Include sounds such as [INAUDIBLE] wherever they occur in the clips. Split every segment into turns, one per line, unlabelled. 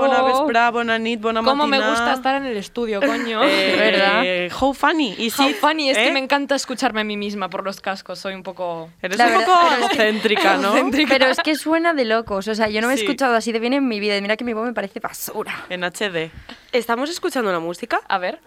vespre, bona nit, bona
Cómo me
matina.
gusta estar en el estudio, coño.
[LAUGHS] Eh,
¿Verdad?
How funny. Y sí,
How funny, es
¿eh?
que me encanta escucharme a mí misma por los cascos, soy un poco...
Eres
La
un
verdad-
poco
pero es que-
[LAUGHS]
egocéntrica, ¿no?
Pero es que suena de locos. O sea, yo no me he
Sí.
escuchado así de bien en mi vida. Y mira que mi voz me parece basura.
En HD.
¿Estamos escuchando la música?
A ver.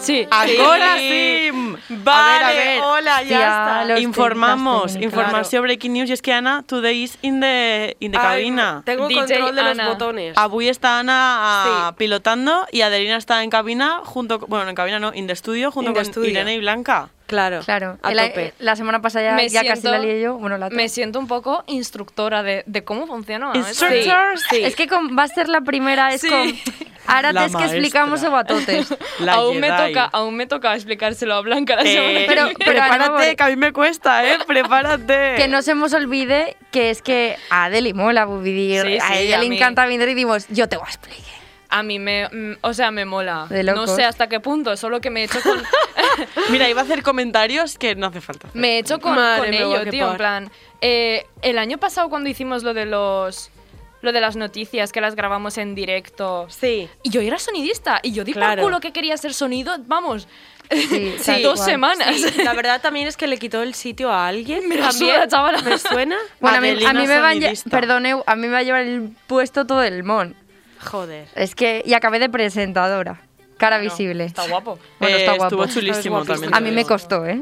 Sí.
Ah,
Ahora sí. Vale,
A ver, a ver.
hola, ya
Tía,
está.
los
Informamos,
técnicos,
informació breaking news. I és que Anna, today is in the, in the
Ay,
cabina.
Tengo
DJ
control de
Ana.
los botones.
Avui està Anna ah,
Sí.
pilotando y Adelina está en cabina junto, con- bueno, en cabina no, in the studio junto
In the
con
studio.
Irene y Blanca.
Claro.
Claro.
A
El- eh, la,
tope.
la semana pasada ya,
Me
ya casi
siento-
la lié yo. Bueno, la otra.
Me siento un poco instructora de, de cómo funciona. ¿eh? esto.
Instructor.
sí.
[LAUGHS] Es que con- va a ser la primera. Es
Sí.
con... Ahora
La
te es que explicamos
maestra.
[LAUGHS]
batotes.
[LAUGHS] La
aún, me
Jedi.
toca, aún me toca explicárselo a
[LAUGHS]
Blanca la semana
Eh,
que
Pero-
viene.
pero
prepárate,
Ana, por-
que a mí me cuesta, ¿eh? Prepárate.
[LAUGHS] Que no se nos olvide que es que a Adeli mola Bubidir.
Sí,
a
sí,
ella
a
le
mí.
encanta vender y dimos, yo te voy a explicar.
A mí me... mm, O sea, me mola.
De
no
locos.
sé hasta qué punto, solo que me he hecho
[LAUGHS]
con...
Mira, iba a hacer comentarios que no hace falta. hacer.
me he hecho con,
Madre
con
mía,
ello,
qué
tío. En
par.
plan... eh, el año pasado cuando hicimos lo de los... Lo de las noticias que las grabamos en directo.
Sí.
Y yo era sonidista. Y yo di
Claro.
por culo que quería ser sonido. Vamos.
Sí, tal
dos
cual.
semanas. [LAUGHS]
Sí, la verdad también es que le quitó el sitio a alguien.
Me la
También,
suda, chavala.
¿Me suena?
Bueno, a mí,
Adelina
a mí me van
sonidista.
perdone, a mí me va a llevar el puesto todo el mon.
Joder.
Es que y acabé de presentadora, cara
Bueno,
visible.
Está guapo.
Bueno,
Eh,
está guapo.
Estuvo chulísimo
Está
también.
A mí me costó, ¿eh?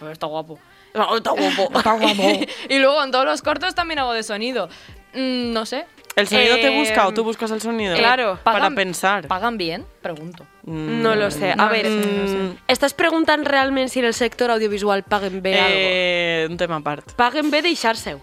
Pero está guapo.
No, está guapo.
[LAUGHS] y luego en todos los cortos también hago de sonido. Mm, no sé.
¿El sonido te
Eh,
busca o tú buscas el sonido?
eh,
Claro,
Para
¿pagan-
pensar.
¿Pagan bien? Pregunto. [LAUGHS]
Mm,
[LAUGHS] No lo sé. A
No lo
ver,
sé, no lo
mm, ¿estás preguntando realmente si en el sector audiovisual paguen bé algo?
eh, un tema aparte.
Paguen bé deixar-se-ho.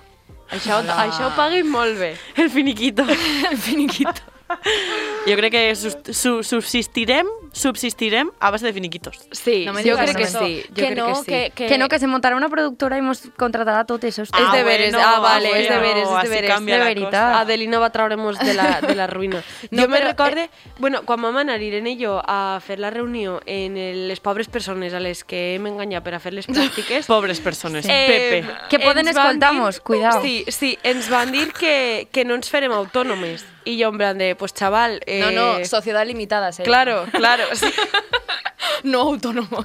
Això, això ho paguen molt bé.
El finiquito.
El finiquito.
[LAUGHS] Yo creo que sus- su- subsistirem, subsistirem a base de finiquitos.
Sí,
No me
yo
digas
creo que
eso.
sí. Yo
Que no,
creo que sí.
que-
Que no, que se montará una productora y hemos contratado a totes esos.
Es
Ah,
deberes,
bueno,
ah, vale, es
bueno,
deberes, es
así
deberes.
cambia
de
la
veritat.
Ah.
cosa.
Adelina va traure'm-nos de la, de la
[LAUGHS]
ruïna.
No,
jo me
però,
recorde... Eh... Bueno, quan vam anar Irene i jo a fer la reunió en el- les pobres persones a les que hem enganyat per a
[LAUGHS]
fer les pràctiques...
Pobres personas.
eh,
Pepe.
Que poden
ens van
escoltar-mos, cuidao.
Sí, sí, ens van dir que, que no ens farem autònomes. I jo en plan de, pues chaval... Eh,
No, no, sociedad limitada. se
Claro,
[LAUGHS]
claro. Sí.
llama. No autónomo.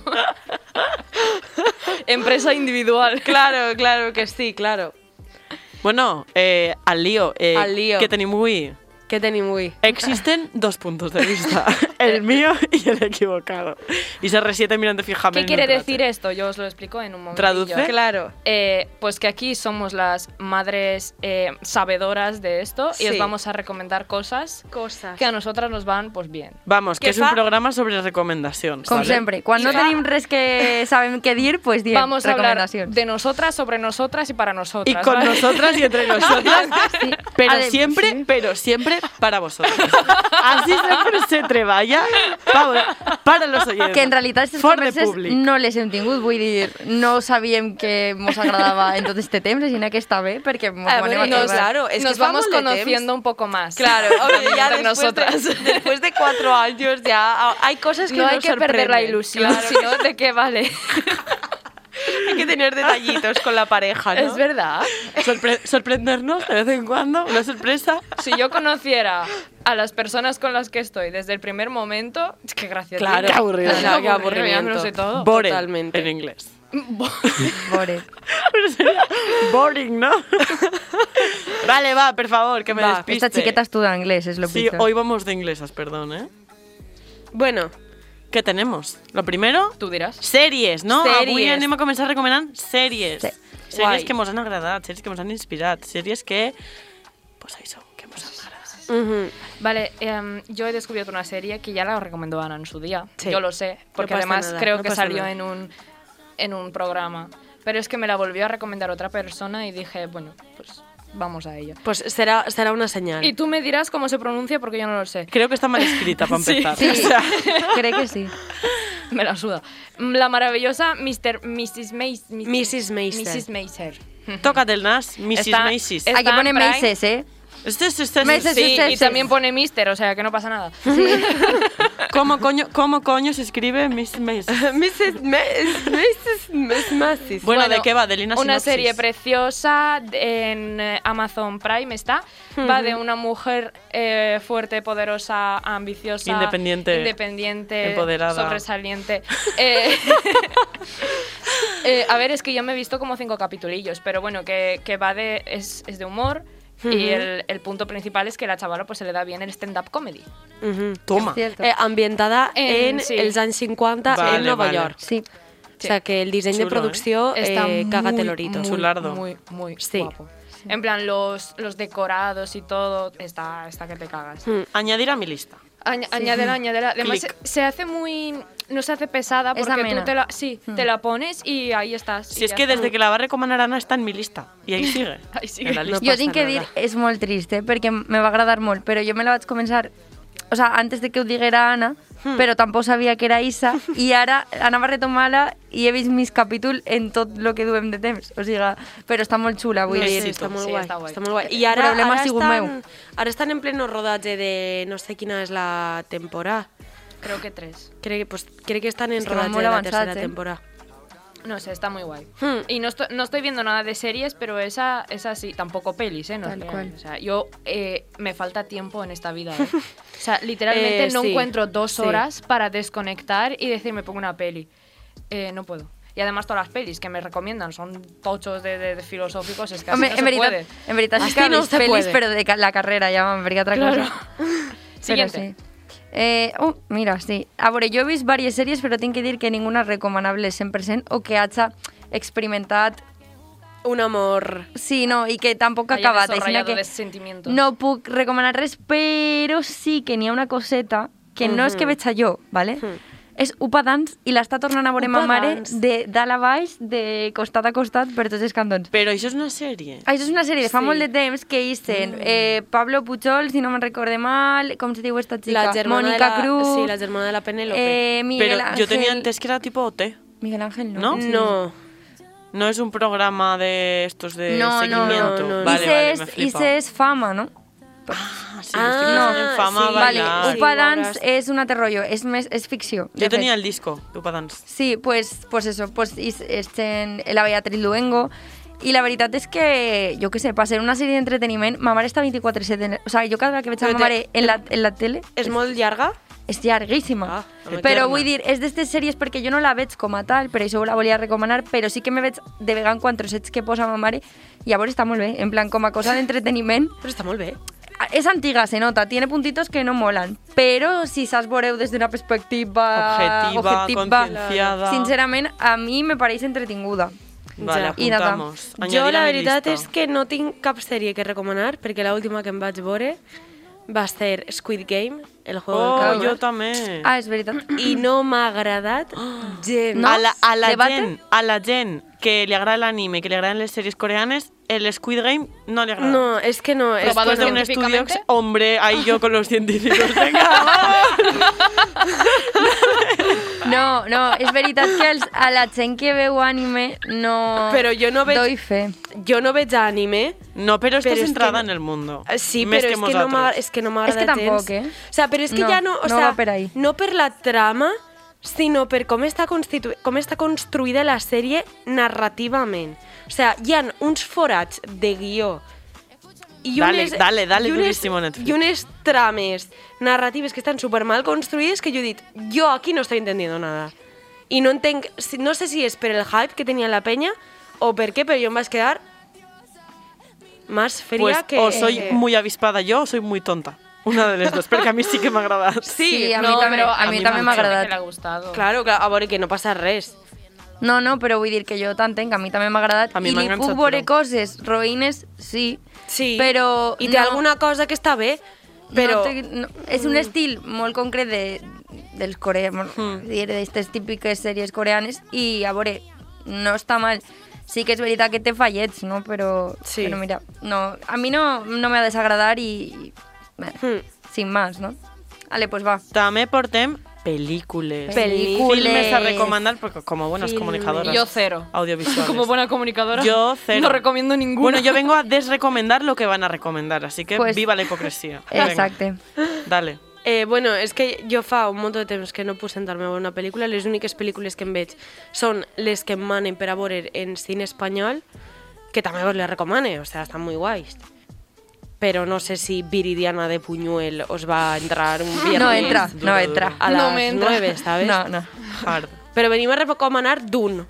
Empresa individual.
claro, claro que sí, claro.
Bueno, eh, al lío. Eh,
Al lío.
Que tenim avui.
Què tenim avui?
Existen dos puntos de
[LAUGHS]
vista, el mío y el equivocado. Y se resiente mirando fijamente.
¿Qué
en
quiere
un
decir esto? Yo os lo explico en un momento.
Traduce.
Claro.
Eh, pues que aquí somos las madres eh, sabedoras de esto y os
Sí.
vamos a recomendar cosas
Coses.
que a nosotras nos van pues bien.
Vamos, que
Que
es un
fa-
programa sobre recomendación.
Como
¿vale?
siempre, cuando no
Hija.
tenéis res que saben qué dir, pues dir
Vamos a hablar
recomendación.
de nosotras, sobre nosotras y para
Y
nosotras.
con
¿vale?
nosotras y
[LAUGHS]
entre nosotras, [LAUGHS] pero
Adem-
siempre, pero siempre para vosotros. Así siempre se treballa pa- para los oyentes.
Que en realidad estos
For the
converses
public.
no les hem tingut, vull dir, no sabíem que mos agradava en tot este temps, així que està bé, perquè mos
A
ho
veure,
anem a
no,
trobar.
Ah, claro, es
nos
que fa
vamos
molt de temps.
conociendo un poco más. [LAUGHS]
Claro, hombre, ya
Entre
después [LAUGHS]
nosotras.
de, después de cuatro años ya ah, hay cosas que
no hay
nos
que perder la
sorprenden.
ilusión,
Claro,
sino de qué vale.
[LAUGHS] hay que tener detallitos con la pareja, Ah, ¿no?
Es verdad.
Sorpre- sorprendernos de vez en cuando, una sorpresa.
Si yo conociera a las personas con las que estoy desde el primer momento, es que gracias.
Claro,
tío.
aburrido.
Qué
qué
aburrido, ya
aburrimiento.
me lo sé
Oh,
todo.
Boring
Totalmente.
en inglés. [LAUGHS]
Pobre.
Boring,
[LAUGHS]
¿no? vale, va, por favor, que me
Va,
despiste.
Esta chiqueta estudia inglés, es lo
Sí,
que
hoy vamos de inglesas, perdón, ¿eh?
Bueno,
¿Qué tenemos? Lo primero,
Tú dirás.
Sèries, no?
Sèries.
Avui anem a començar recomanant sèries.
Sí.
Sèries
Guai.
que mos han agradat, sèries que mos han inspirat, sèries que... Pues això, que mos han agradat.
ujú,
Vale, em, yo he descubierto una serie que ya la recomendó Ana en su día.
Sí.
Yo lo sé, porque
No pasa
además
nada,
creo
no
que
pasa
salió
nada.
en un, en un programa. Pero es que me la volvió a recomendar otra persona y dije, bueno, pues vamos a ello.
pues será, será una señal. [LAUGHS]
Y tú me dirás cómo se pronuncia porque yo no lo sé. [LAUGHS]
Creo que está mal escrita, para
Sí.
empezar.
Sí,
[LAUGHS] O sea,
creo
[LAUGHS]
que sí.
Me la suda. La maravillosa Mr. Mrs. Mays,
Mrs. Meiser.
Mrs. Meiser.
toca't el nas, Mrs.
Está-
Macy's.
es-
Aquí
Está
pone
en Prime.
Macy's, ¿eh?
Este, este, este,
Me
este.
Sí,
Sí,
sí, sí.
y también pone mister, o sea que no pasa nada.
¿Cómo coño, cómo coño se escribe Miss Mace?
[LAUGHS]
Mrs. Mes- Mrs. Mes-
[LAUGHS]
Masis.
Bueno, ¿de qué va? De Lina
Una
sinopsis.
serie preciosa de- en eh, Amazon Prime está. Va de una mujer eh, fuerte, poderosa, ambiciosa,
Independiente,
independiente,
empoderada.
sobresaliente. Eh, [LAUGHS] eh, a ver, es que yo me he visto como cinco capitulillos, pero bueno, que, que va de es, es de humor. Y el, el punto principal es que la chavala pues se le da bien el stand-up comedy.
Ujú.
Toma.
Es cierto.
Eh, ambientada en,
En- sí.
els anys 50
Vale,
en Nova
vale.
York.
Sí.
O sea que el diseño
Chulo,
de producción
Está
eh,
muy,
cágate lorito.
muy,
Chulardo.
Muy, muy
Sí.
guapo. En plan, los, los decorados y todo, está, está que te cagas.
Añadir a mi lista.
Añ- [LAUGHS] Añádela, añádela. Además, se,
Clic.
se hace muy. No se hace pesada
Es
porque
amena.
tú te la, sí, te la pones y ahí estás.
Si es que desde que la va recomendar Ana está en mi lista. I
[LAUGHS]
ahí sigue.
Ahí sigue.
En la lista.
jo tinc que dir, és molt trist, eh? perquè me va agradar molt, però jo me la vaig començar o sea, antes de que ho diguera Anna, hmm. però tampoc sabia que era Isa, i ara anava a retomar-la i he vist mis capítol en tot el que duem de temps. O sigui, però està molt xula, vull
Sí,
dir.
sí,
Està molt
Sí,
guai,
està guai.
està molt guai. I ara,
Problema
ara,
ha sigut
estan,
meu.
ara estan en pleno rodatge de... No sé quina és la temporada.
Creo que tres.
Crec, pues, crec que estan en
Estan
rodatge
molt
de la
avançats,
tercera
eh?
temporada.
No sé, está muy guay.
Hmm.
Y no estoy, no estoy viendo nada de series, pero esa, esa sí. Tampoco pelis, ¿eh? No
Tal
os creáis.
cual.
O sea, yo. eh, me falta tiempo en esta vida, ¿eh? O sea, literalmente
[LAUGHS]
Eh,
no
sí,
encuentro dos
sí.
horas para desconectar y decir, me pongo una peli. Eh, no puedo. Y además todas las pelis que me recomiendan son tochos de, de- de filosóficos, es que así
Home,
no
en
se puede.
veritat, en veritat sí
Así
que
no
no
se
pelis,
puede.
però de ca- la carrera ja van, perquè altra
Claro. [LAUGHS]
cosa. Pero
Siguiente.
sí. Eh, uh, mira, sí. A veure, jo he vist diverses sèries, però tinc que dir que ninguna és recomanable 100% o que haja experimentat...
Un amor...
Sí, no, i que tampoc ha
Hay un
acabat.
eso
així
rayado
que
de sentimientos.
no puc recomanar res, però sí que n'hi ha una coseta que no és que veig jo, ¿vale?
Mhm.
És Upa Dance i l'està tornant a veure ma
Upa
mare
Dance.
de dalt a baix, de costat a costat, per tots els cantons.
Però això és una sèrie.
Això és una sèrie de fa
Sí. Mm.
molt de temps que hissen eh, Pablo Pujol, si no me'n recorde mal, com se diu esta
La
xica?
germana
Mònica
de la-
Cruz.
sí, la germana de la Penélope.
Eh, Miguel
Però
Ángel.
jo tenia entès que era tipo OT.
Miguel Ángel,
¿No?
¿no? Mm.
sí.
No.
No es un programa de estos de
No, no,
seguimiento.
no.
no, no.
Vale,
Ise
vale,
es-
me flipa.
Ise es fama, ¿no?
Ah, sí, estoy
Ah,
pensando en
sí,
fama
vale,
vale,
bailar.
Claro.
Upa
Sí,
Dance
ahora-
es un altre rollo, es, mes- es ficció. de
Yo
fet.
tenía el disco de Upa Dance.
Sí, pues, pues eso, pues is- estén la Beatriz Luengo. I la veritat és que, jo què sé, per ser una sèrie d'entreteniment, ma mare està 24-7. O sigui, jo cada vegada que veig a
Però
ma
te-
mare en la, en la tele...
És molt llarga?
És llarguíssima.
Ah,
no me
però
torna.
vull dir, és d'aquestes sèries perquè jo no la veig com a tal, per això la volia recomanar, però sí que me veig de vegada en quan trossets que posa ma mare, llavors està molt bé, en plan, com a cosa d'entreteniment.
Però està molt bé.
Ah, És antiga, se nota, tiene puntitos que no molan, però si saps veureu des d'una perspectiva...
Objetiva, concienciada.
Sincerament, a mi me pareix entretinguda.
Vale,
Ya.
Y nada.
apuntamos. Añadir
Jo
a
la
mi
veritat
lista.
és que no tinc cap sèrie que recomanar perquè l'última que em vaig veure va ser Squid Game, el juego
Oh,
del
yo
calamar.
también.
Ah, és veritat.
I no m'ha agradat gens.
No?
Eh, A la, a la
Debate?
gent, a la gent que le agrada el anime, que le agradan las series coreanas, el Squid Game no le agrada.
No, és que no. És
Probado
que
Después de
no.
un estudio,
científicamente.
hombre, ahí yo con los científicos.
[LAUGHS]
Venga,
No, no, és veritat que els, a la gent que veu anime no...
Però jo no veig-
Doy fe.
Jo no veig anime.
no, pero estás
Pero es que
entrada
no-
en el mundo.
Eh, Sí,
Més
però és que, no
mosatros.
m'agra- és que no m'agrada
És que tampoc,
gens.
eh?
O sea, però és que
No,
ja no... O
no
sea,
va per ahí.
No per la trama, sinó per com està, constitu... com està construïda la sèrie narrativament. O sea, hi han uns forats de guió i
Dale,
unes,
dale, dale
i unes,
durísimo, Netflix.
i unes trames narratives que estan super mal construïdes que jo he dit, jo aquí no estoy entendiendo nada. I no entenc, si- no sé si és per el hype que tenia la penya o per què, però jo em vaig quedar más fría
Pues
que...
o soy
eh,
que-
muy avispada yo o soy muy tonta. Una de las dos, porque a mí sí que me agrada.
Sí,
a mi
no,
també,
pero
a
a
mi
mi
també m'ha
mucho.
agradat.
Que le ha gustado.
Claro, claro, a veure, que no passa res.
No, no, però vull dir que jo t'entenc, a mi també m'ha agradat.
A mi
I
m'ha
li puc
enganxat,
veure
però.
coses roïnes, sí.
Sí.
Però
I té
no-
alguna cosa que està bé, però...
No te- no, mm. és un estil molt concret de, dels coreans, mm. d'aquestes típiques sèries coreanes, i a veure, no està mal. Sí que és veritat que té fallets, no? Però,
Sí.
però mira, no, a mi no, no m'ha desagradar i... i, Bé,
Mm.
Sin más, no? Vale, pues va.
També portem Películes.
Películes.
Filmes a recomendar, porque como buenas
Filmes.
comunicadoras.
Yo cero.
Audiovisuales.
Como buena comunicadora.
Yo cero.
No recomiendo ninguno.
Bueno, yo vengo a desrecomendar lo que van a recomendar, así que
Pues-
viva la
[LAUGHS]
hipocresía. Venga,
Exacte.
dale.
Eh, bueno, és que jo fa un munt de temps que no puc sentar-me a veure una pel·lícula. Les úniques pel·lícules que em veig són les que em manen per a veure en cine espanyol, que també vos les recomane, o sea, estan molt guais. Però no sé si Viridiana de Puñuel os va a entrar un viernes.
No entra, no entra.
A
No
las
me entra.
9, ¿sabes?
No, no.
Hard.
Però venim a recomanar Dune.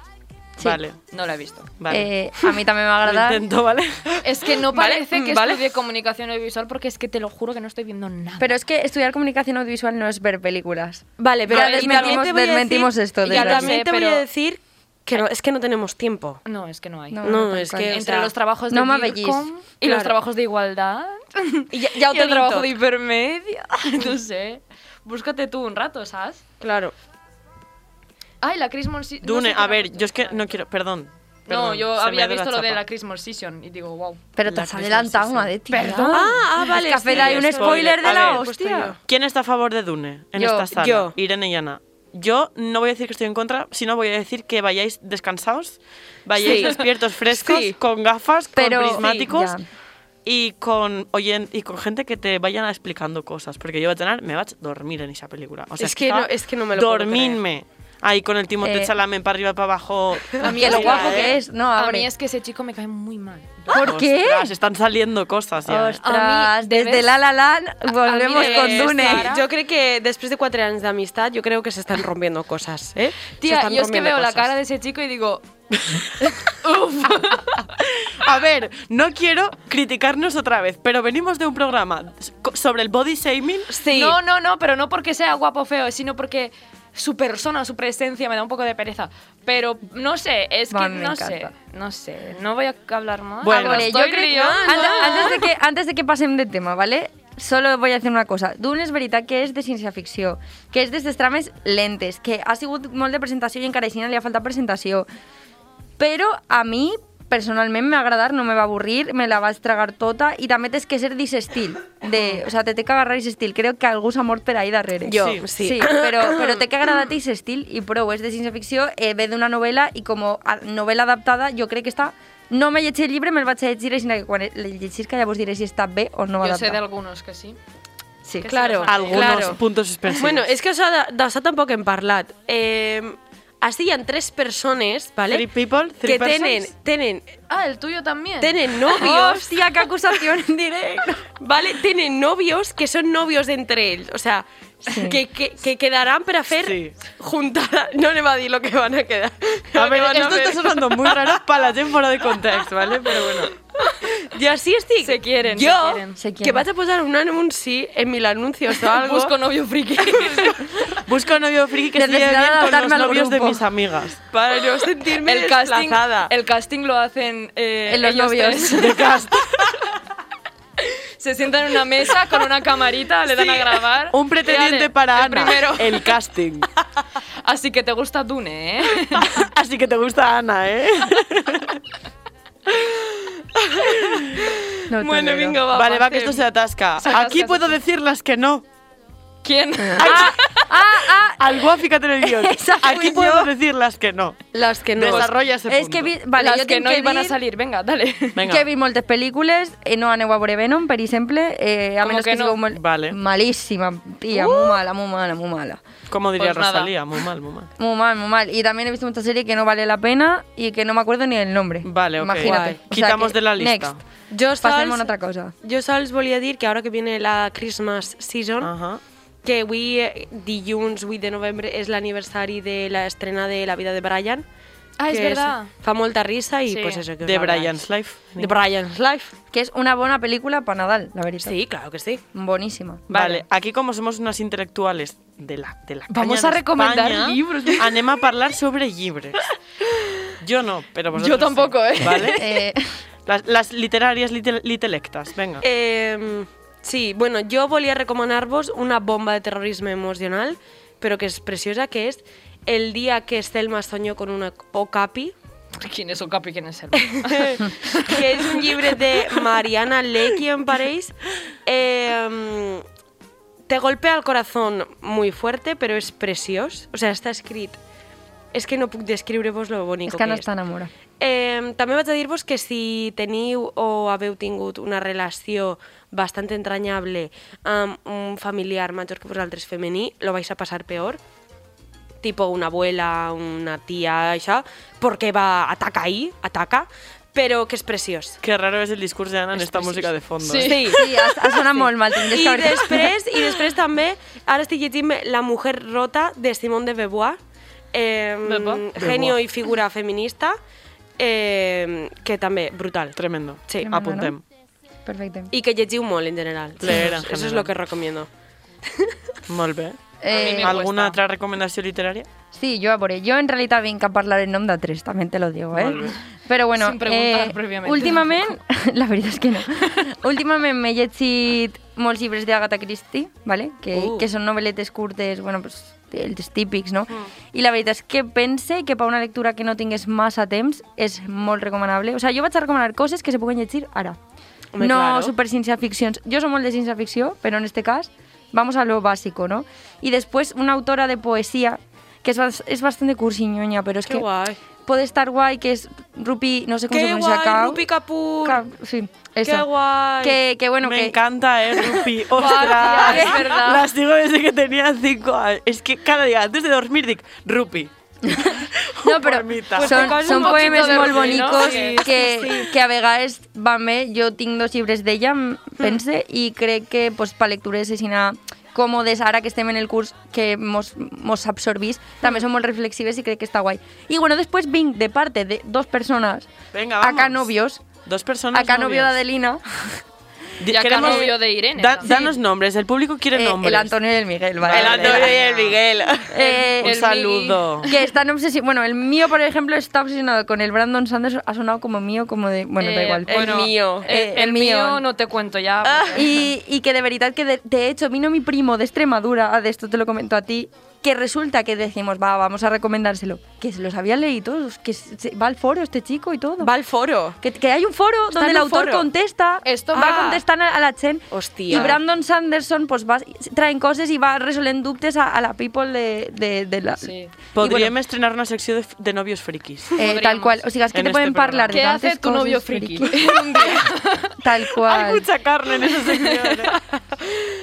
Sí.
Vale,
No la he visto.
vale.
Eh, a mí también
[LAUGHS]
me va a
Lo
agradar.
intento, [LAUGHS]
[LAUGHS]
¿vale?
Es que no
Vale,
parece que
vale.
estudie comunicación audiovisual porque es que te lo juro que no estoy viendo nada.
Pero es que estudiar comunicación audiovisual no es
[LAUGHS]
ver películas.
Vale, pero
Ya
y también
desmentimos-
te voy a
desmentimos
decir-
esto de
Ya
la-
también
Sí,
te voy a
pero-
decir que no, es que no tenemos tiempo.
no, es que Ah, no hay.
No,
No,
tal
es
cual.
que-
Entre
o sea,
los trabajos de
no me
Vircom
avellís.
y
Claro.
los trabajos de [LAUGHS] igualdad
Y ya- ya
y el
utilizo.
trabajo de hipermedia, [LAUGHS] no sé. Búscate tú un rato, ¿sabes?
Claro.
Ay, la Chris Mon- no
Dune,
sé qué
a ver,
era.
yo es que no quiero. Perdón.
No,
perdón,
yo
se me ha
había
ido
visto lo de
chapa.
la Christmas Season y digo, wow.
Pero te
La
has
Christmas
adelantado
season.
una de ti.
Perdón.
Ah, ah, vale.
Es que
sí,
Fede, hay un
estoy-
spoiler de
A
la
ver,
pues estoy
[LAUGHS] hostia.
¿Quién está a favor de Dune en
Yo,
esta sala?
yo.
Irene y Ana. Yo no voy a decir que estoy en contra, sino voy a decir que vayáis descansados, vayáis
Sí.
despiertos, frescos,
Sí.
con gafas,
Pero-
con
Sí,
prismáticos
ya.
y con oyen- y con gente que te vayan explicando cosas, porque yo voy a tener, me vaig a dormir en esa película. O sea,
Es que
está-
no- es que no me lo puedo
dormirme. Ahí con el Timothée
Eh.
Chalamet para arriba, para abajo. eh.
A mí lo guapo que es. No,
a
abre.
mí es que ese chico me cae muy mal.
¿Por qué?
Ostras, están saliendo cosas ya. eh.
Ostras,
A mí,
desde
debes-
La La Land volvemos
a mí
Pues con
debes,
Dune.
Sara.
Yo creo que después de cuatro años de amistad, yo creo que se están rompiendo cosas, ¿eh? Se
Tía,
están
yo es que
rompiendo
veo la
cosas.
cara de ese chico y digo,
A ver, no quiero criticarnos otra vez, pero venimos de un programa co- sobre el body shaming.
Sí.
No, no, no, pero no porque sea guapo o feo, sino porque su persona, su presencia me da un poco de pereza. Pero no sé, es que
Va, me
no sé,
encanta.
no sé, no voy a hablar más.
Bueno.
Me
Vale, yo
estoy
crec-
liando.
Ante- antes, de que, antes de que pasen de tema, ¿vale? Solo voy a decir una cosa. Dune és veritat que és de ciència ficció, que és d'aquestes trames lentes, que ha sigut molt de presentació i encara així no li ha faltat presentació. Però a mi, personalment, m'ha agradat, no me va avorrir, me la vaig tragar tota i també tens que ser d'aquest estil. De, o sea, te té que agarrar aquest estil. Crec que algú s'ha mort per ahí darrere.
Yo,
Sí.
sí.
Sí, [CLEARS THROAT] però, però té que agradar aquest estil i prou, és de ciència ficció, eh, ve d'una novel·la i com a novel·la adaptada jo crec que està... No m'he llegit el llibre, me'l vaig llegir, sinó que quan el llegisca ja vos diré si està bé o no va
Yo sé de
adaptar.
algunos que sí.
Sí.
que
Claro.
se los han
Algunos
leído.
Claro.
puntos suspensivos.
Bueno, és que us ha de- d'això tampoc hem parlat. Eh, així hi ha tres persones, vale?
Three people, three
que tenen,
persons.
tenen,
Ah, el tuyo también.
tenen [LAUGHS] novios,
Hòstia, que acusació en
[LAUGHS]
directe!
vale? Tenen novios que són novios entre ells, o sea,
Sí.
que, que, que quedaran per a fer
Sí.
juntada. No anem a dir lo que van a quedar.
A ver,
Lo que van
esto está
fer.
sonando muy raro para la gente fuera de contexto, ¿vale? Pero bueno.
Jo sí estic.
Se quieren,
jo,
se quieren.
Se quieren.
que vaig a posar un anunci en
[LAUGHS]
mil anuncios o algo.
Busco novio
[LAUGHS]
friki.
Busco un novio friki que se lleve
Necesidad
bien
de
con los
adaptarme al
novios de
grupo.
mis amigas.
para no
[LAUGHS]
sentirme
el casting,
desplazada.
el casting lo hacen eh,
En los
ellos
novios.
tres.
De cast.
Se sientan en una mesa con una camarita, le dan a grabar.
Un pretendiente
Dale,
para
el
Ana. Eh.
Primero.
El casting.
Así que te gusta
[LAUGHS]
Dune, ¿eh?
Así que te gusta Ana, ¿eh?
No
Bueno, vinga, va.
vale, va, que
pasem.
esto se atasca.
Pues Se atasca,
Aquí
se
puedo
atasca.
decir las que no.
¿Quién?
[LAUGHS]
Ah, ah, ah!
Algo, fíjate en el guión.
[LAUGHS] Esa fui
Aquí
yo.
puedo decir las que no.
Las que no.
Desarrolla ese
és
punto.
que vi... Vale,
Las
jo
que
tinc
no
que
iban a
dir
salir, venga, dale. [LAUGHS]
Venga.
que he vist moltes pel·lícules, eh, no aneu a veure Venom, per exemple, eh, a
Com
menys
que
que,
no? Uh.
sigueu molt...
Vale.
Malíssima, tia, molt mala, molt mala, molt mala.
Como diría
Pues nada.
Rosalía, muy mal, muy mal.
Muy mal, muy mal. Y también he visto mucha serie que no vale la pena y que no me acuerdo ni el nombre.
Vale, ok.
Imagínate.
Guay.
O sea
Quitamos
que-
de la lista.
Next.
Yo
Pasemos
sols,
a otra cosa.
jo sols volia dir que ara que viene la Christmas season,
Ajá.
que avui, eh, dilluns 8 de novembre, és l'aniversari de l'estrena de La vida de Brian.
Ah, és
que
verdad.
Fa molta risa i
Sí.
pues eso que us
De
hablais.
Brian's Life.
De Brian's Life.
Que es una buena película para Nadal, la verdad.
Sí, claro que sí.
Buenísima.
Vale. aquí como somos unas intelectuales de la, de la
Vamos
caña
a
de
recomendar
España,
libros.
Anem a hablar sobre libros. Yo no, pero vosotros
Yo
sí,
tampoco, ¿eh?
Vale. [LAUGHS]
[LAUGHS] Eh,
Las, las literarias litel- litelectas, venga.
Eh, sí, bueno, jo volia recomanar-vos una bomba de terrorisme emocional, però que és preciosa, que és el dia que Estelma soñó con una okapi,
¿Quién es Okapi y quién es el
que és un llibre de Mariana Lecky, em pareix. Eh, te golpea el corazón muy fuerte, però és preciós. O sigui, està escrit... És que no puc descriure-vos lo bonic
És que
que
no està enamora.
Eh, també vaig a dir-vos que si teniu o haveu tingut una relació bastant entranyable amb un familiar major que vosaltres femení, lo vais a passar peor. Tipo una abuela, una tia, això, perquè va ataca ahí, ataca, però que és preciós.
Qué raro es el discurso de Ana en esta música de fondo.
Sí. [LAUGHS]
¿eh?
Sí, ha, ha sonat molt mal, tindries
I
que haver... [LAUGHS]
després, I després també, ara estic llegint La mujer rota de Simone de Beauvoir, eh,
Beauvoir.
genio i figura feminista, eh, que també, brutal.
Tremendo.
Sí.
Tremendo,
Apuntem.
Perfecte.
I que llegiu molt en general.
Leer en
Eso es
general.
lo que recomiendo.
Molt bé.
Eh,
me
¿Alguna
cuesta.
otra recomendación literaria?
Sí, jo a veure, jo en realitat vinc a parlar en nom de tres, també te lo digo, eh?
Molt bé.
Però bueno, eh,
Sin preguntar prèviament.
últimament, [LAUGHS] la veritat és que no, últimament m'he llegit molts llibres d'Agatha Christie, ¿vale? que,
Uh.
que són novel·letes curtes, bueno, pues, els típics, no? I la veritat és que pense que per una lectura que no tingués massa temps és molt recomanable. O sigui, jo vaig a recomanar coses que se puguen llegir ara.
Home,
no
claro.
super cienciaficcions. Jo soc molt de cienciaficció, però en este cas vamos a lo básico, ¿no? Y después una autora de poesía, que es, bas- es bastante cursiñoña, pero es
Qué
que
guay.
puede estar guay, que es Rupi, no sé cómo
Qué
se pronuncia,
guay,
Kau.
Rupi Kapoor.
Ka- sí, esa.
Qué guay.
Que, que bueno,
Me
que...
encanta, eh, Rupi.
Guau,
¡Ostras!
tía, es verdad.
Las digo desde que tenía cinco años. Es que cada día, antes de dormir, dic, Rupi. [LAUGHS]
No, però
Formita.
Pues
són,
te causa un
són
poquito
poemes
de
molt
orgull, no?
bonics
Sí,
que, que a vegades van bé. Jo tinc dos llibres d'ella, em
Mm.
pense, i crec que pues, per lectures aixina còmodes, ara que estem en el curs que mos, mos absorbís, també
Mm.
són molt reflexives i crec que està guai. I bueno, després vinc de parte de dos persones
Venga,
a
vamos.
Canovios,
Dos personas.
a Canovios
novias.
d'Adelina,
Di-
Y a
queremos-
Canovio de Irene
Da-
también.
danos nombres, el público quiere
eh,
nombres.
el Antonio i el Miguel. Vale,
El
vale,
Antonio
vale.
y el Miguel.
Eh,
Un
el
saludo.
Que están obsesionados. Bueno, el mío, por ejemplo, está obsesionado con el Brandon Sanders. Ha sonado como mío, como de. Bueno, da
Eh,
igual.
bueno,
El mío.
El,
Eh,
el
el mío. Ah.
mío. no te cuento ya.
Y, y que de verdad que de, de hecho vino mi primo de Extremadura, ah, de esto te lo comento a ti, que resulta que decimos, va, vamos a recomendárselo, que se los había leído todos, que se- se- va al foro este chico y todo.
Va al foro.
Que, que hay un foro
Está
donde
en
el
un
autor
foro.
contesta,
Esto
va
va.
contestant a, a la Chen.
Hostia.
I Brandon Sanderson pues, va, traen coses i va resolent dubtes a, a la people de, de, de la...
Sí.
Podríem estrenar una secció de, de novios frikis.
Eh, tal
Podríamos.
cual. O sea, es que
En
te
este
pueden
programa.
hablar de
¿Qué
tantas
hace tu novio
cosas,
friki? [LAUGHS]
[LAUGHS] Tal
Hay
cual.
mucha carne en esa sección. eh.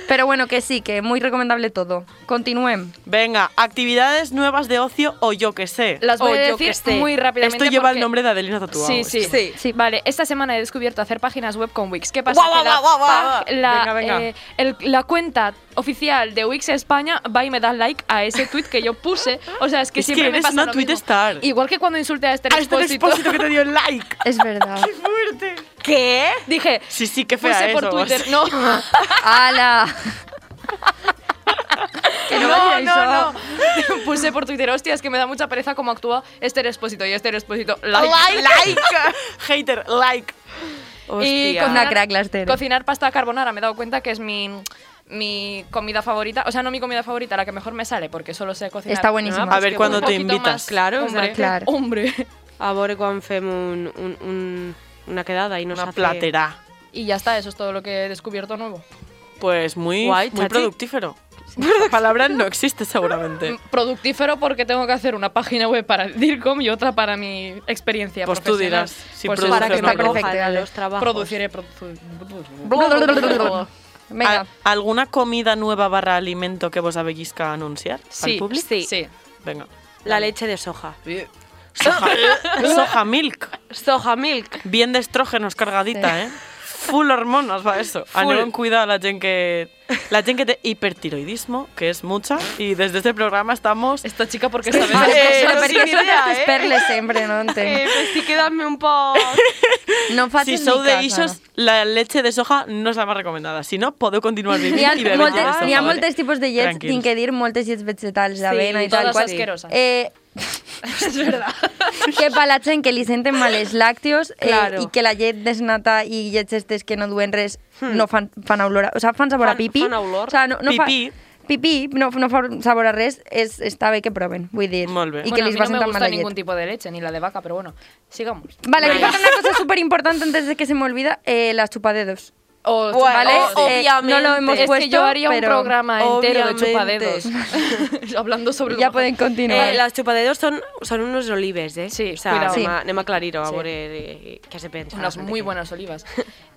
Pero bueno, que sí, que muy recomendable todo. Continúen.
Venga, actividades nuevas de ocio o yo que sé.
Las voy
O
a
yo
decir
que sé.
muy rápidamente.
Esto lleva el
porque-
nombre de Adelina tatuado.
Sí, sí.
Sí.
Sí.
Vale, esta semana he descubierto hacer páginas web con Wix. ¿Qué pasa?
Guau,
Que la,
guau, guau, guau, guau.
pag- la,
Venga, venga.
eh, el- la cuenta oficial de Wix España va y me da like a ese tweet que yo puse. O sea, es que
Es que
siempre me
eres
pasa
una
lo
tweet
mismo.
star.
Igual que cuando insulté a este
A este
expósito.
expósito que te dio el
[LAUGHS]
like.
Es verdad.
¡Fuerte!
¿Qué?
[LAUGHS] Dije,
Sí, sí, qué fea
puse por
eso.
Twitter. No,
[LAUGHS]
¡Hala! que no,
no,
vaya eso.
no, no. [LAUGHS] Puse por Twitter, hostia, es que me da mucha pereza cómo actúa este expósito y este expósito. [LAUGHS] Like.
Like, like. [LAUGHS] Hater, like.
Y
Hostia.
con
cocinar,
Una crack, la Esther.
cocinar pasta carbonara, me he dado cuenta que es mi, mi comida favorita. O sea, no mi comida favorita, la que mejor me sale, porque solo sé cocinar.
Está buenísima.
A ver
que
cuándo
un
te
poquito
invitas.
más.
Claro,
hombre.
hombre.
Claro.
Hombre. [LAUGHS]
A veure quan fem un, un, un, una quedada i nos
Una
hace...
platera.
Y ya está, eso es todo lo que he descubierto nuevo.
Pues muy,
Guay,
muy
chachi.
productífero. La palabra no existe seguramente.
[LAUGHS] Mm, Productífero porque tengo que hacer una página web para DIRCOM y otra para mi experiencia
Pues tú
profesional.
dirás si
Pues
produce
Para
eso,
que
o
no
no
está
produce.
perfecto.
cojan a
Ale.
los trabajos.
produciré
[LAUGHS]
produ-
Venga.
Ah,
[LAUGHS]
¿Al- ¿Alguna comida nueva barra alimento que vos habéis que anunciar al
Sí,
público?
sí, sí.
Venga.
La leche de soja.
Soja, soja milk.
Soja milk.
Bien de estrógenos cargadita, ¿eh? Full hormonas va eso. Aneu en cuidado a la gente que... La gente que té hipertiroidismo, que es mucha, y desde este programa estamos...
Esta chica porque
Sí,
[LAUGHS]
sabe...
sí,
de-
Eh,
Però
no
perquè
tinc
són
idea,
aquestes
eh?
perles sempre,
[LAUGHS]
no
Eh,
entenc.
pues sí, quedadme un [LAUGHS] poc...
No em
Si
facis
sou
ni
de
cas,
ixos, la leche de soja no es la más recomendada. Si no, podeu
[LAUGHS]
continuar
N'hi
vivint
ha,
i bevent
moltes,
llet de soja,
n'hi ha
vale?
moltes tipus de llets,
Tranquils.
tinc que dir, moltes llets vegetals, d'avena i
totes
tal. qual.
asqueroses.
Eh,
[LAUGHS] es verdad.
que pa la gent que li senten mal els làctios eh,
Claro.
i que la llet desnata i llets estes que no duen res
Hmm.
no fan, fan olor, a, o sea, fan sabor a
Fan-
pipí.
fan olor.
O sea, no, no
Pipí.
Fa, pipí, no, no fa sabor a res, és, està bé que proven, vull dir.
Molt bé.
I que
Bueno, a
li
mí
va
no me
sentar mal
gusta
la
ningún
llet.
tipo de leche, ni la de vaca, pero bueno, sigamos.
Vale, li falta una cosa superimportante antes de que se me olvida, eh, la chupadedos.
O
Bueno,
¿Vale?
o-
Eh, no lo
obviamente.
hemos
es
puesto,
que yo haría un
pero
programa entero
obviamente.
[LAUGHS]
de chupadedos. [LAUGHS] Hablando sobre
Ya
lo-
pueden continuar.
Eh, las chupadedos son, son unos olives, eh?
Sí,
o sea,
cuidado.
anem, a, anem a aclarir-ho, a
Sí.
veure eh, què se pensa.
Unas muy buenas olivas.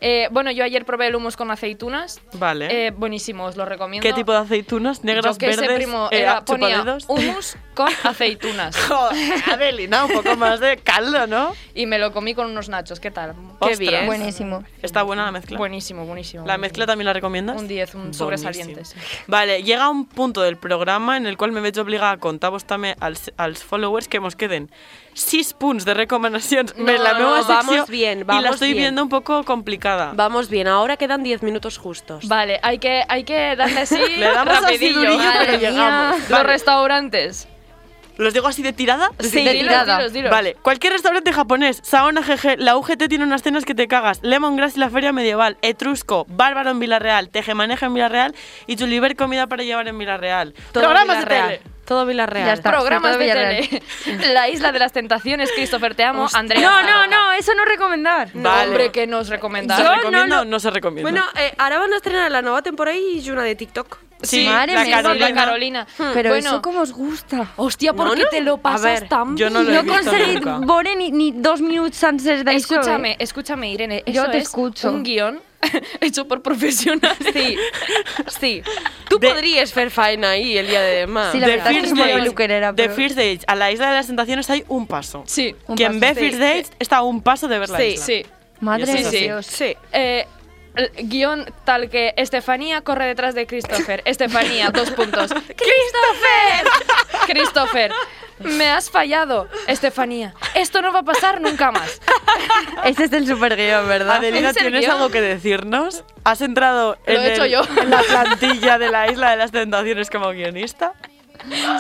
Eh, bueno, yo ayer probé el hummus con aceitunas.
Vale.
Eh, buenísimo, os lo recomiendo.
¿Qué tipo de aceitunas? ¿Negras,
Yo que
verdes?
Ese primo
eh,
era, ponía
chupadedos?
hummus con aceitunas.
[LAUGHS] Joder, Adeli, ¿no? Un poco más de caldo, ¿no?
y me lo comí con unos nachos. ¿Qué tal?
Ostras.
bien.
Buenísimo.
Está buena la mezcla.
Buenísimo, buenísimo.
¿La mezcla también la recomiendas?
Un 10, un sobresaliente, sí.
Vale, llega un punto del programa en el cual me veig obligada a contar-vos també als, als followers que mos queden 6 punts de recomanacions
No,
de la
no,
meva
vamos
secció
bien,
y la
vamos
estoy
bien.
viendo un poco complicada.
Vamos bien, ahora quedan 10 minutos justos.
Vale, hay que, hay que darle [LAUGHS] así
Le damos así
rapidillo.
durillo
Vale.
pero
mía.
llegamos.
Los
Vale,
restaurantes.
¿Los digo así de tirada?
Sí,
dilos,
tirada.
dilos, dilos.
Vale, cualquier restaurante japonés, Saona GG, la UGT tiene unas cenas que te cagas, Lemongrass y la Feria Medieval, Etrusco, Bárbaro en Villarreal, Tejemaneja en Villarreal y Chuliver Comida para Llevar en Villarreal. Programas de
Villarreal.
tele.
Todo Villarreal.
Ya está.
Programas de
sobre todo Villarreal.
tele. [LAUGHS] La isla de las tentaciones, Christopher, te amo. Andrea.
No,
te
no,
amo.
no, eso no recomendar.
No,
Vale.
Hombre, que nos
¿Se
recomendar.
Yo- no
recomienda
lo-
o no se recomienda?
Bueno, eh, ara van a estrenar la nova temporada i una de TikTok.
sí,
madre
la
mía,
Sí,
Carolina.
la Carolina.
Hmm.
Pero
bueno,
eso como os gusta.
Hostia, ¿por
No,
qué
no.
te lo
A
pasas
ver,
tan
yo no lo he
No
visto
conseguí
nunca.
veure ni, ni dos minuts sencers d'això.
Escúchame,
eh?
escúchame, Irene.
Yo
eso
te
es
escucho.
Un guión [LAUGHS] hecho por profesionales.
Sí, [LAUGHS] sí. Tu
De-
podries fer faena ahí el dia de demà.
Sí, la
The
verdad es que
First
es muy
Dates-
peluquerera,
The
pero-
First Dates, a la isla de las tentaciones hay un paso.
Sí.
Un
Quien ve
paso,
sí.
First Dates está a un paso de ver la
Sí,
isla.
Sí.
Madre
Sí,
de
sí.
Dios.
Sí.
Eh, el guión tal que Estefanía corre detrás de Christopher. [LAUGHS] Estefanía, dos puntos. [LAUGHS] ¡Christopher! Christopher, me has fallado. Estefanía, esto no va a pasar nunca más.
Este es el super guión, ¿verdad?
Adelina,
¿Es el
¿tienes
guión?
algo que decirnos? ¿Has entrado en,
Lo he hecho
el-
yo.
[LAUGHS] en la plantilla de la isla de las tentaciones como guionista?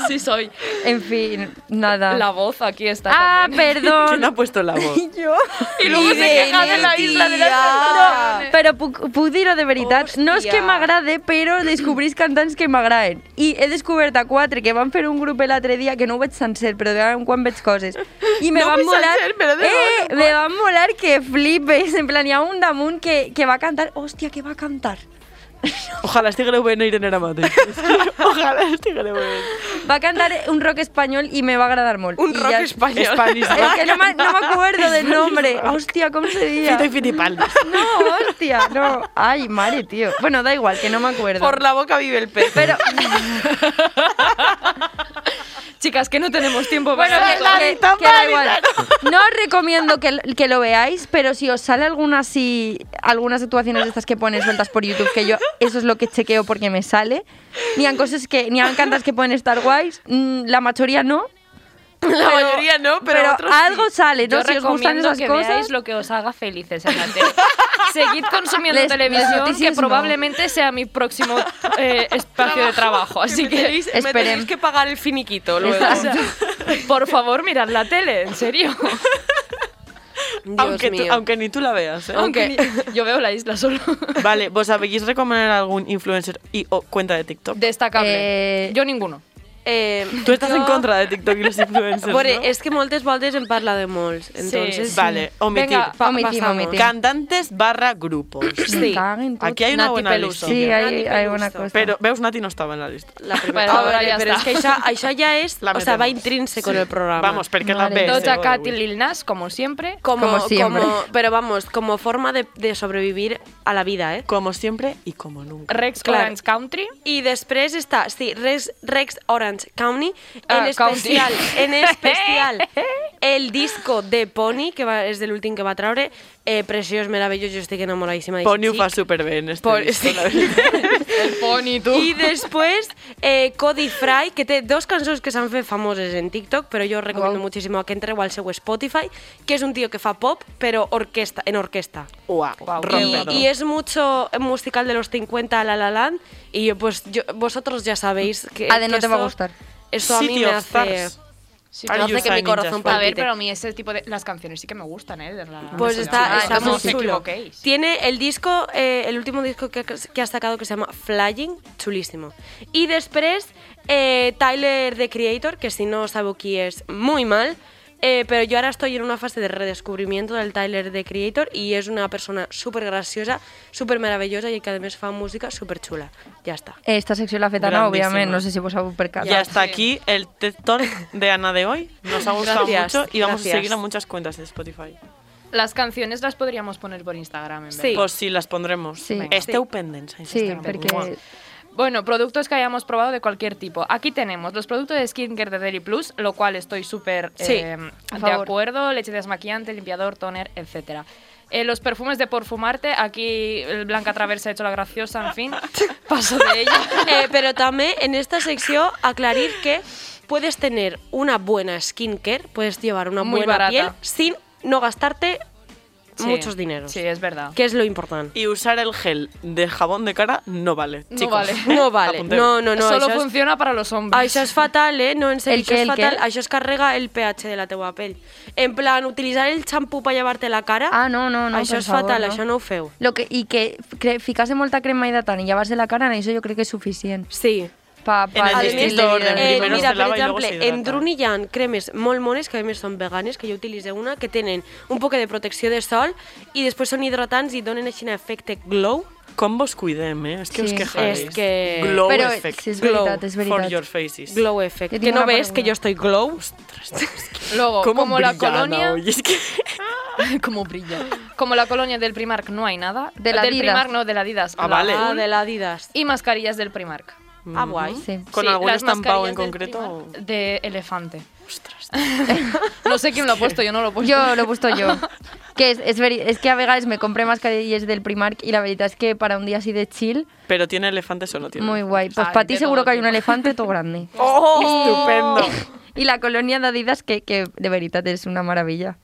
Sí, soy.
En fin, nada.
La voz aquí está.
Ah,
también.
[LAUGHS] ¿Quién ha
perdón.
puesto la voz?
yo.
Y luego se queja de la isla de las
No,
tentaciones.
però puc, puc dir-ho de veritat. No és que
Hòstia.
m'agrade, però descobrís cantants que m'agraden. I he descobert a quatre que van fer un grup l'altre dia, que no ho veig sencer, però de vegada en quan veig coses. I me
No ho
van
veig
molar...
sencer, però de vegada
eh, me van molar que flipes. En plan, hi ha un damunt que, que va cantar... Hòstia, que va cantar.
Ojalá este esté Greuben no Irene Ramate. Ojalá este esté Greuben.
Va cantar un rock espanyol i me va agradar molt.
Un
I
rock espanyol.
Spanish
[LAUGHS]
Es que no me no me acuerdo del nombre. Hòstia, com seria?
Fito y Fitipaldi.
No, hostia, no. Ay, madre, tío. Bueno, da igual, que no me acuerdo.
Por [LAUGHS] la boca vive el pez.
Pero
Chicas, que no tenemos tiempo
bueno,
para
que-
tanto.
que,
Tan
que da
válida,
igual. No os recomiendo que, l- que lo veáis, pero si os sale alguna así, algunas actuaciones de estas que ponen sueltas por YouTube, que yo eso es lo que chequeo porque me sale, ni han cosas que, ni han cantas que pueden estar guays, mm, la mayoría no.
La mayoría no, pero, otros
algo sale, ¿no?
Yo
si os gustan
recomiendo
esas
que
cosas.
veáis lo que os haga felices en la tele. Seguid consumiendo
Les- las
televisión,
noticias
que
no.
probablemente sea mi próximo eh, espacio de trabajo. Así
me
[LAUGHS]
tenéis,
que,
me
Esperem.
tenéis que pagar el finiquito luego.
o
[LAUGHS]
sea, por favor, mirad la tele, en [LAUGHS] serio.
Dios
Aunque, tú-
mío.
aunque ni tú la veas, ¿eh?
Aunque yo veo la isla solo.
Vale, ¿vos sabéis recomendar algún influencer y o cuenta de TikTok?
Destacable.
Eh,
Yo ninguno.
Eh,
Tú estás
yo-
en contra de TikTok y los influencers,
Veure,
¿no?
és que moltes voltes en parla de molts. Entonces,
sí.
Vale, omitir.
Venga,
pa-
Omitim,
pasamos.
omitim.
Cantantes barra grupos.
Sí,
Caguen tot.
Aquí hay una
Nati
buena
Peluso.
lista.
Sí, hay,
Nati
hay una
Peluso.
cosa.
Pero veus Nati no estava en la lista.
la
Però
primera.
ara ja està.
però és que això, això ja és...
La
o sea, va
metemos.
intrínseco en el programa.
Vamos, perquè la
Vale.
ves. eh,
Doja Cat y Lil Nas, como siempre.
Como,
Como siempre.
como- pero vamos, como forma de, de sobrevivir a la vida, ¿eh?
Como siempre y como nunca.
Rex
Claro.
Orange Country.
Y después está, sí, Rex, Rex Orange County, en
Ah,
especial,
County.
en especial, el disco de Pony, que va, es del último que va a traer, eh, precioso, maravilloso, yo estoy que enamoradísima de
Pony
ese
ho fa
chic.
superbé en este
Por-
disco,
sí.
la
[LAUGHS]
veritat.
El Pony, tú.
I després, eh, Cody Fry, que té dos cançons que s'han fet famoses en TikTok, però jo recomano wow. moltíssim que entreu al seu Spotify, que és un tio que fa pop, però orquesta, en orquesta.
Uau,
Guau,
Y,
rompedor.
y es mucho musical de los 50 La La Land y yo, pues yo- vosotros ya sabéis que
Ah, de
que
no te va a
eso-
gustar.
Eso a mí
City
me
of
hace
Stars.
Sí,
Are
pero-
you
hace que mi
signing
corazón
just
a ver,
palpite.
pero a mí ese tipo de... Las canciones sí que me gustan, ¿eh? de la-
pues
de la-
está,
Ah,
está
no
muy
os
chulo.
equivoquéis.
Tiene el disco, eh, el último disco que, que ha sacado que se llama Flying, chulísimo. Y después eh, Tyler the Creator, que si no sabeu qui és, muy mal, Eh, pero yo ahora estoy en una fase de redescubrimiento del Tyler, de Creator, y es una persona súper graciosa, súper maravillosa y que además fa música súper chula. Ya está.
Esta secció la fetana,
Grandísima.
obviamente, no sé si vos habéis percatado.
Y hasta aquí el TED Talk de Ana de hoy. Nos ha gustado
Gracias,
mucho y vamos
gracias.
a seguir a muchas cuentas de Spotify.
Las canciones las podríamos poner por Instagram, en verdad.
Sí.
Pues sí, las pondremos.
Sí.
Venga. Esteu pendents. ai,
Sí,
estem molt.
porque
Bueno, productos que hayamos probado de cualquier tipo. Aquí tenemos los productos de skincare de Deli Plus, lo cual estoy súper
Sí,
eh,
a
de
favor.
acuerdo. Leche desmaquillante, limpiador, toner, etc. los perfumes de Perfumarte, aquí el Blanca Traversa ha hecho la graciosa, en fin, paso de ella.
[LAUGHS] Eh, pero también en esta sección aclarir que puedes tener una buena skincare, puedes llevar una
Muy
buena
barata.
piel sin no gastarte
Sí,
muchos dineros,
Sí, es verdad.
que es lo importante.
Y usar el gel de jabón de cara no vale,
No
chicos.
vale.
No
[LAUGHS]
vale,
Apunteu.
no, no, no.
Solo
això és-
funciona para los hombres.
Això és fatal, eh? No, en sèrio,
El
això
què,
és
el
fatal.
què?
Això es carrega el pH de la teua pell. En plan, utilitzar el xampú per llevar-te la cara...
Ah, no, no, no,
Això
per
és fatal,
favor, no.
això no ho feu.
lo que, y que cre- ficase molta crema hidratant i llevar-se la cara, en això jo crec que és suficient.
Sí.
Pa, pa,
En el
l'estil
distinto
de vida
orden,
de
primer
Eh,
primero
tothom.
es
mira,
lava
per
i luego
exemple,
se hidrata.
en Druni hi ha cremes molt mones, que a més són veganes, que jo utilitzé una, que tenen un poc de protecció de sol i després són hidratants i donen així un efecte glow.
Com vos cuidem, eh? És que
Sí.
us quejáis.
És que-
Glow
Però
effect.
sí, és
Glow
veritat, és
for
veritat.
your faces.
Glow effect.
Jo tinc
Que no
una
ves
per
que
una.
jo estoy glow.
Luego,
¿Cómo
como la
brilla, Ana,
colonia... [LAUGHS]
hoy? Es que-
como brilla. Como la colonia del Primark no hay nada.
De la
del
Adidas.
Primark no, de la Adidas.
Ah,
La
vale.
Ah,
azul.
de la Adidas.
Y mascarillas del Primark.
Ah, guai.
Mm-hmm. Sí.
Con
Sí,
algún
las
estampado en
mascarillas del
concreto.
Primark De elefante.
Ostras.
No sé quién lo ha puesto, yo no lo
Pues
he puesto.
Jo l'he puesto
[LAUGHS]
jo. Que és, és, veri... és que a vegades me compré mascarilles del Primark i la veritat és que para un dia així de chill,
Pero tiene elefantes o no tiene. Ah,
muy guai. Pues
Ay,
para ti
de
seguro
todo
que hay un
tipo.
[LAUGHS]
elefante todo grande.
¡Oh!
[LAUGHS]
Estupendo.
I la colònia d'Adidas, que, que de veritat és una meravella.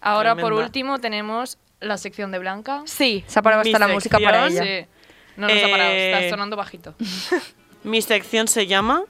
Ahora, por
Tremenda.
último, tenemos la sección de Blanca.
Sí.
S'ha parat
Mi
hasta la música
sección.
para ella.
Sí. No nos ha parado,
Eh,
está sonando bajito.
Mi sección se llama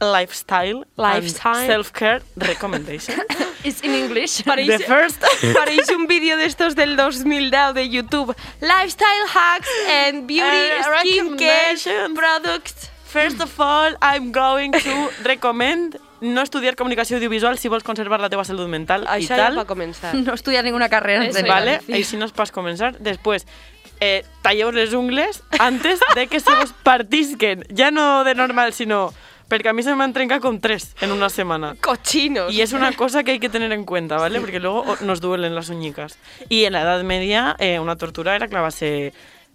Lifestyle, and
Lifestyle.
Self-Care Recommendation.
It's in English.
The first...
[LAUGHS] Pareix un vídeo d'estos del 2010 de YouTube. Lifestyle hacks and beauty
And
skincare
recommendations.
products.
First of all, I'm going to recommend no estudiar comunicació audiovisual si vols conservar la teva salut mental i
Això ja
tal.
va començar.
No estudias ninguna carrera. en
Eso
realidad.
Vale,
Sí.
y si nos pas comenzar, después eh, tallaos les ungles antes de que se vos partisquen. Ya no de normal, sino porque a mí se me han trencado con tres en una semana.
Cochinos.
Y es una cosa que hay que tener en cuenta, ¿vale? Porque luego o- nos duelen las uñicas. Y en la Edad Media eh, una tortura era clavarse,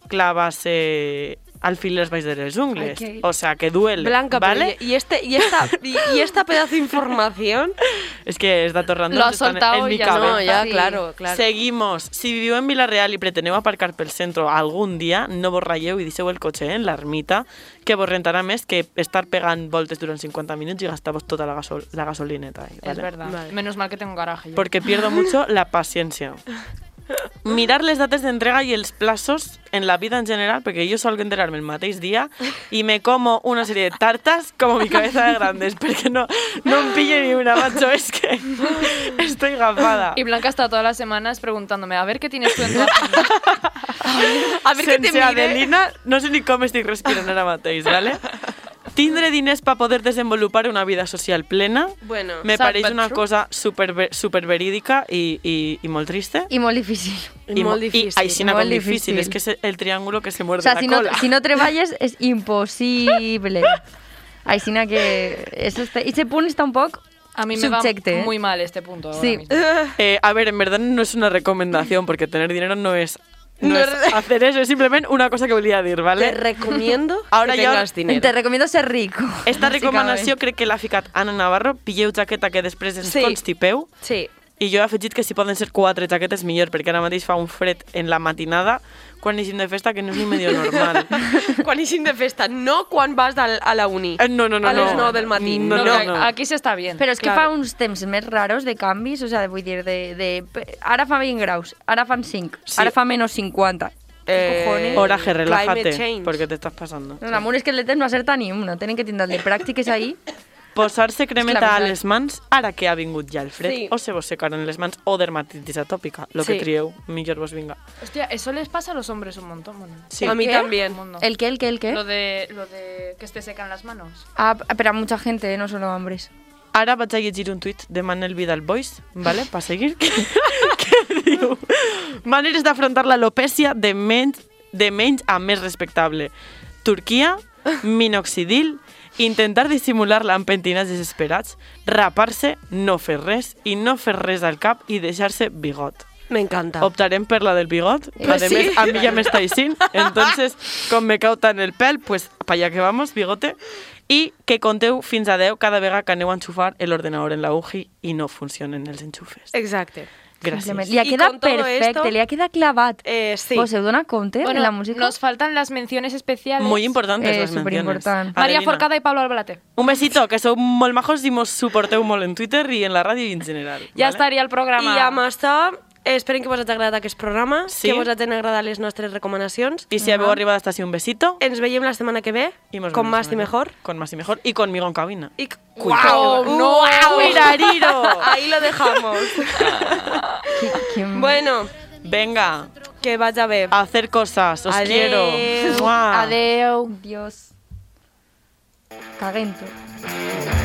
clavarse alfileres vais de les ungles.
Ay, qué-
O sea, que duele,
Blanca, pero
¿vale?
y, y este, y, [LAUGHS] esta, y, y esta pedazo de [LAUGHS] información.
Es que es dato random.
Lo has
están en-
soltado
en mi
y ya
cabeza.
no, ya,
claro,
Seguimos. Si vivió en Villarreal y preteneu aparcar pel centro algun dia, no vos rayeu i deixeu el cotxe eh, en l'ermita, que vos rentarà més que estar pegant voltes durant 50 minuts i gastar-vos tota la, gasol la gasolineta. Ahí,
Es
¿vale?
verdad.
Vale.
Menos mal que tengo garaje. yo.
Porque pierdo mucho la
[LAUGHS]
paciencia. Mirar les dates d'entrega i els plaços en la vida en general, perquè jo solc enterar-me el mateix dia i me como una sèrie de tartas com mi cabeza de grandes, perquè no, no em pillo ni una, macho, es
[LAUGHS]
que estoy gafada.
Y Blanca está todas las semanas preguntándome, a ver qué tienes tú en tu agenda?
A ver Sense Adelina, no sé ni com estic respirant ara mateix, ¿vale? Tindre diners per poder desenvolupar una vida social plena
Bueno,
me
sad
pareix
but
una
true.
cosa super, super verídica i, i, i molt triste.
Y muy difícil.
I,
molt
mo-
difícil,
I
[LAUGHS]
així no
molt
com difícil.
difícil.
És que és el triángulo que se
O
muerde
sea,
la
si no,
cola.
si no treballes es imposible. Aixina que... Eso está... Ese punt està un poc
A mí me
subjecte.
va
eh?
muy mal este punto ahora
Sí.
mismo.
Eh, a ver, en verdad no es una recomendación porque tener dinero no es, no
No
es
es-
hacer eso, es simplemente una cosa que volia dir,
te
¿vale?
[LAUGHS] recomiendo
Ahora
que
ya-
tengas dinero.
Te recomiendo ser rico.
Esta
básicament.
recomanació crec que l'ha ficat Anna Navarro, pilleu jaqueta que després ens
Sí.
constipeu.
[LAUGHS] Sí.
I jo he afegit que si poden ser quatre jaquetes millor, perquè ara mateix fa un fred en la matinada quan hi de festa que no és ni medio normal.
quan eixim de festa, no quan vas al, a la uni.
[LAUGHS] Eh, no, no, no.
A les
no.
9 del matí.
No,
No,
no,
que
no.
Aquí se está bien.
Però és que
Claro.
fa uns temps més raros de canvis, o sea, vull dir, de, de... pe- Ara fa 20 graus, ara fan 5,
Sí.
ara fa menos 50.
Eh,
cojones?
Oraje,
Climate
relájate,
change.
porque te estás pasando.
No, l'amor és que l'etem no acerta ni una, tenen que tindre el de pràctiques ahí.
Posar-se
És
cremeta
clar,
a
és
les mans ara que ha vingut ja el fred,
Sí.
o se vos secaran les mans o dermatitis atòpica, lo
Sí.
que trieu, millor vos vinga.
Hostia, eso les pasa a los hombres un montón. bueno.
Sí.
A mí
¿Qué?
también.
Un montón.
El que, el que, el que.
Lo de, lo de que te secan las manos.
Ah, pero a mucha gente, eh, no solo a hombres.
Ara vaig a llegir un tuit de Manel Vidal Bois, vale? per seguir, que, [LAUGHS] que diu Maneres d'afrontar l'alopècia de menys, de menys a més respectable. Turquia, minoxidil, intentar dissimular-la amb pentinats desesperats, rapar-se, no fer res, i no fer res al cap i deixar-se bigot.
M'encanta.
Optarem per la del bigot.
Eh,
Pues
a
sí.
més, a mí ya me está
[LAUGHS]
sin. Entonces, com me cau tant el pèl, pues para allá que vamos, bigote. I que conteu fins a 10 cada vegada que aneu a enxufar l'ordenador en la UJI i no funcionen els enxufes.
Exacte.
Gràcies.
Li ha
Y
quedat
con todo
perfecte,
esto-
li ha quedat clavat.
Eh, sí.
Vos heu donat compte
Bueno,
en la música?
nos faltan las menciones especiales.
Muy importantes
Eh,
les menciones.
superimportant.
María
Adelina,
Forcada y Pablo Albalate.
Un besito, que sou molt majos i mos suporteu molt en Twitter i en la ràdio i en general.
Ya
vale?
estaría el programa.
I amb això, eh, esperem que vos hagi agradat aquest programa,
Sí.
que vos hagin agradat les nostres recomanacions.
I si habeu arribat hasta així, un besito.
Ens veiem la setmana que ve,
I mos
con
veiem
más
setmana
y
que-
mejor.
Con más y mejor. Y conmigo en cabina.
Y...
¡Guau! ¡No!
¡Mirariro! Ahí lo dejamos.
Qui-
[LAUGHS]
quin-
bueno,
Venga,
que vaya bé.
a hacer cosas. Os
Adeu.
quiero. Mua.
Adeu.
Dios. Cagento.
Adiós.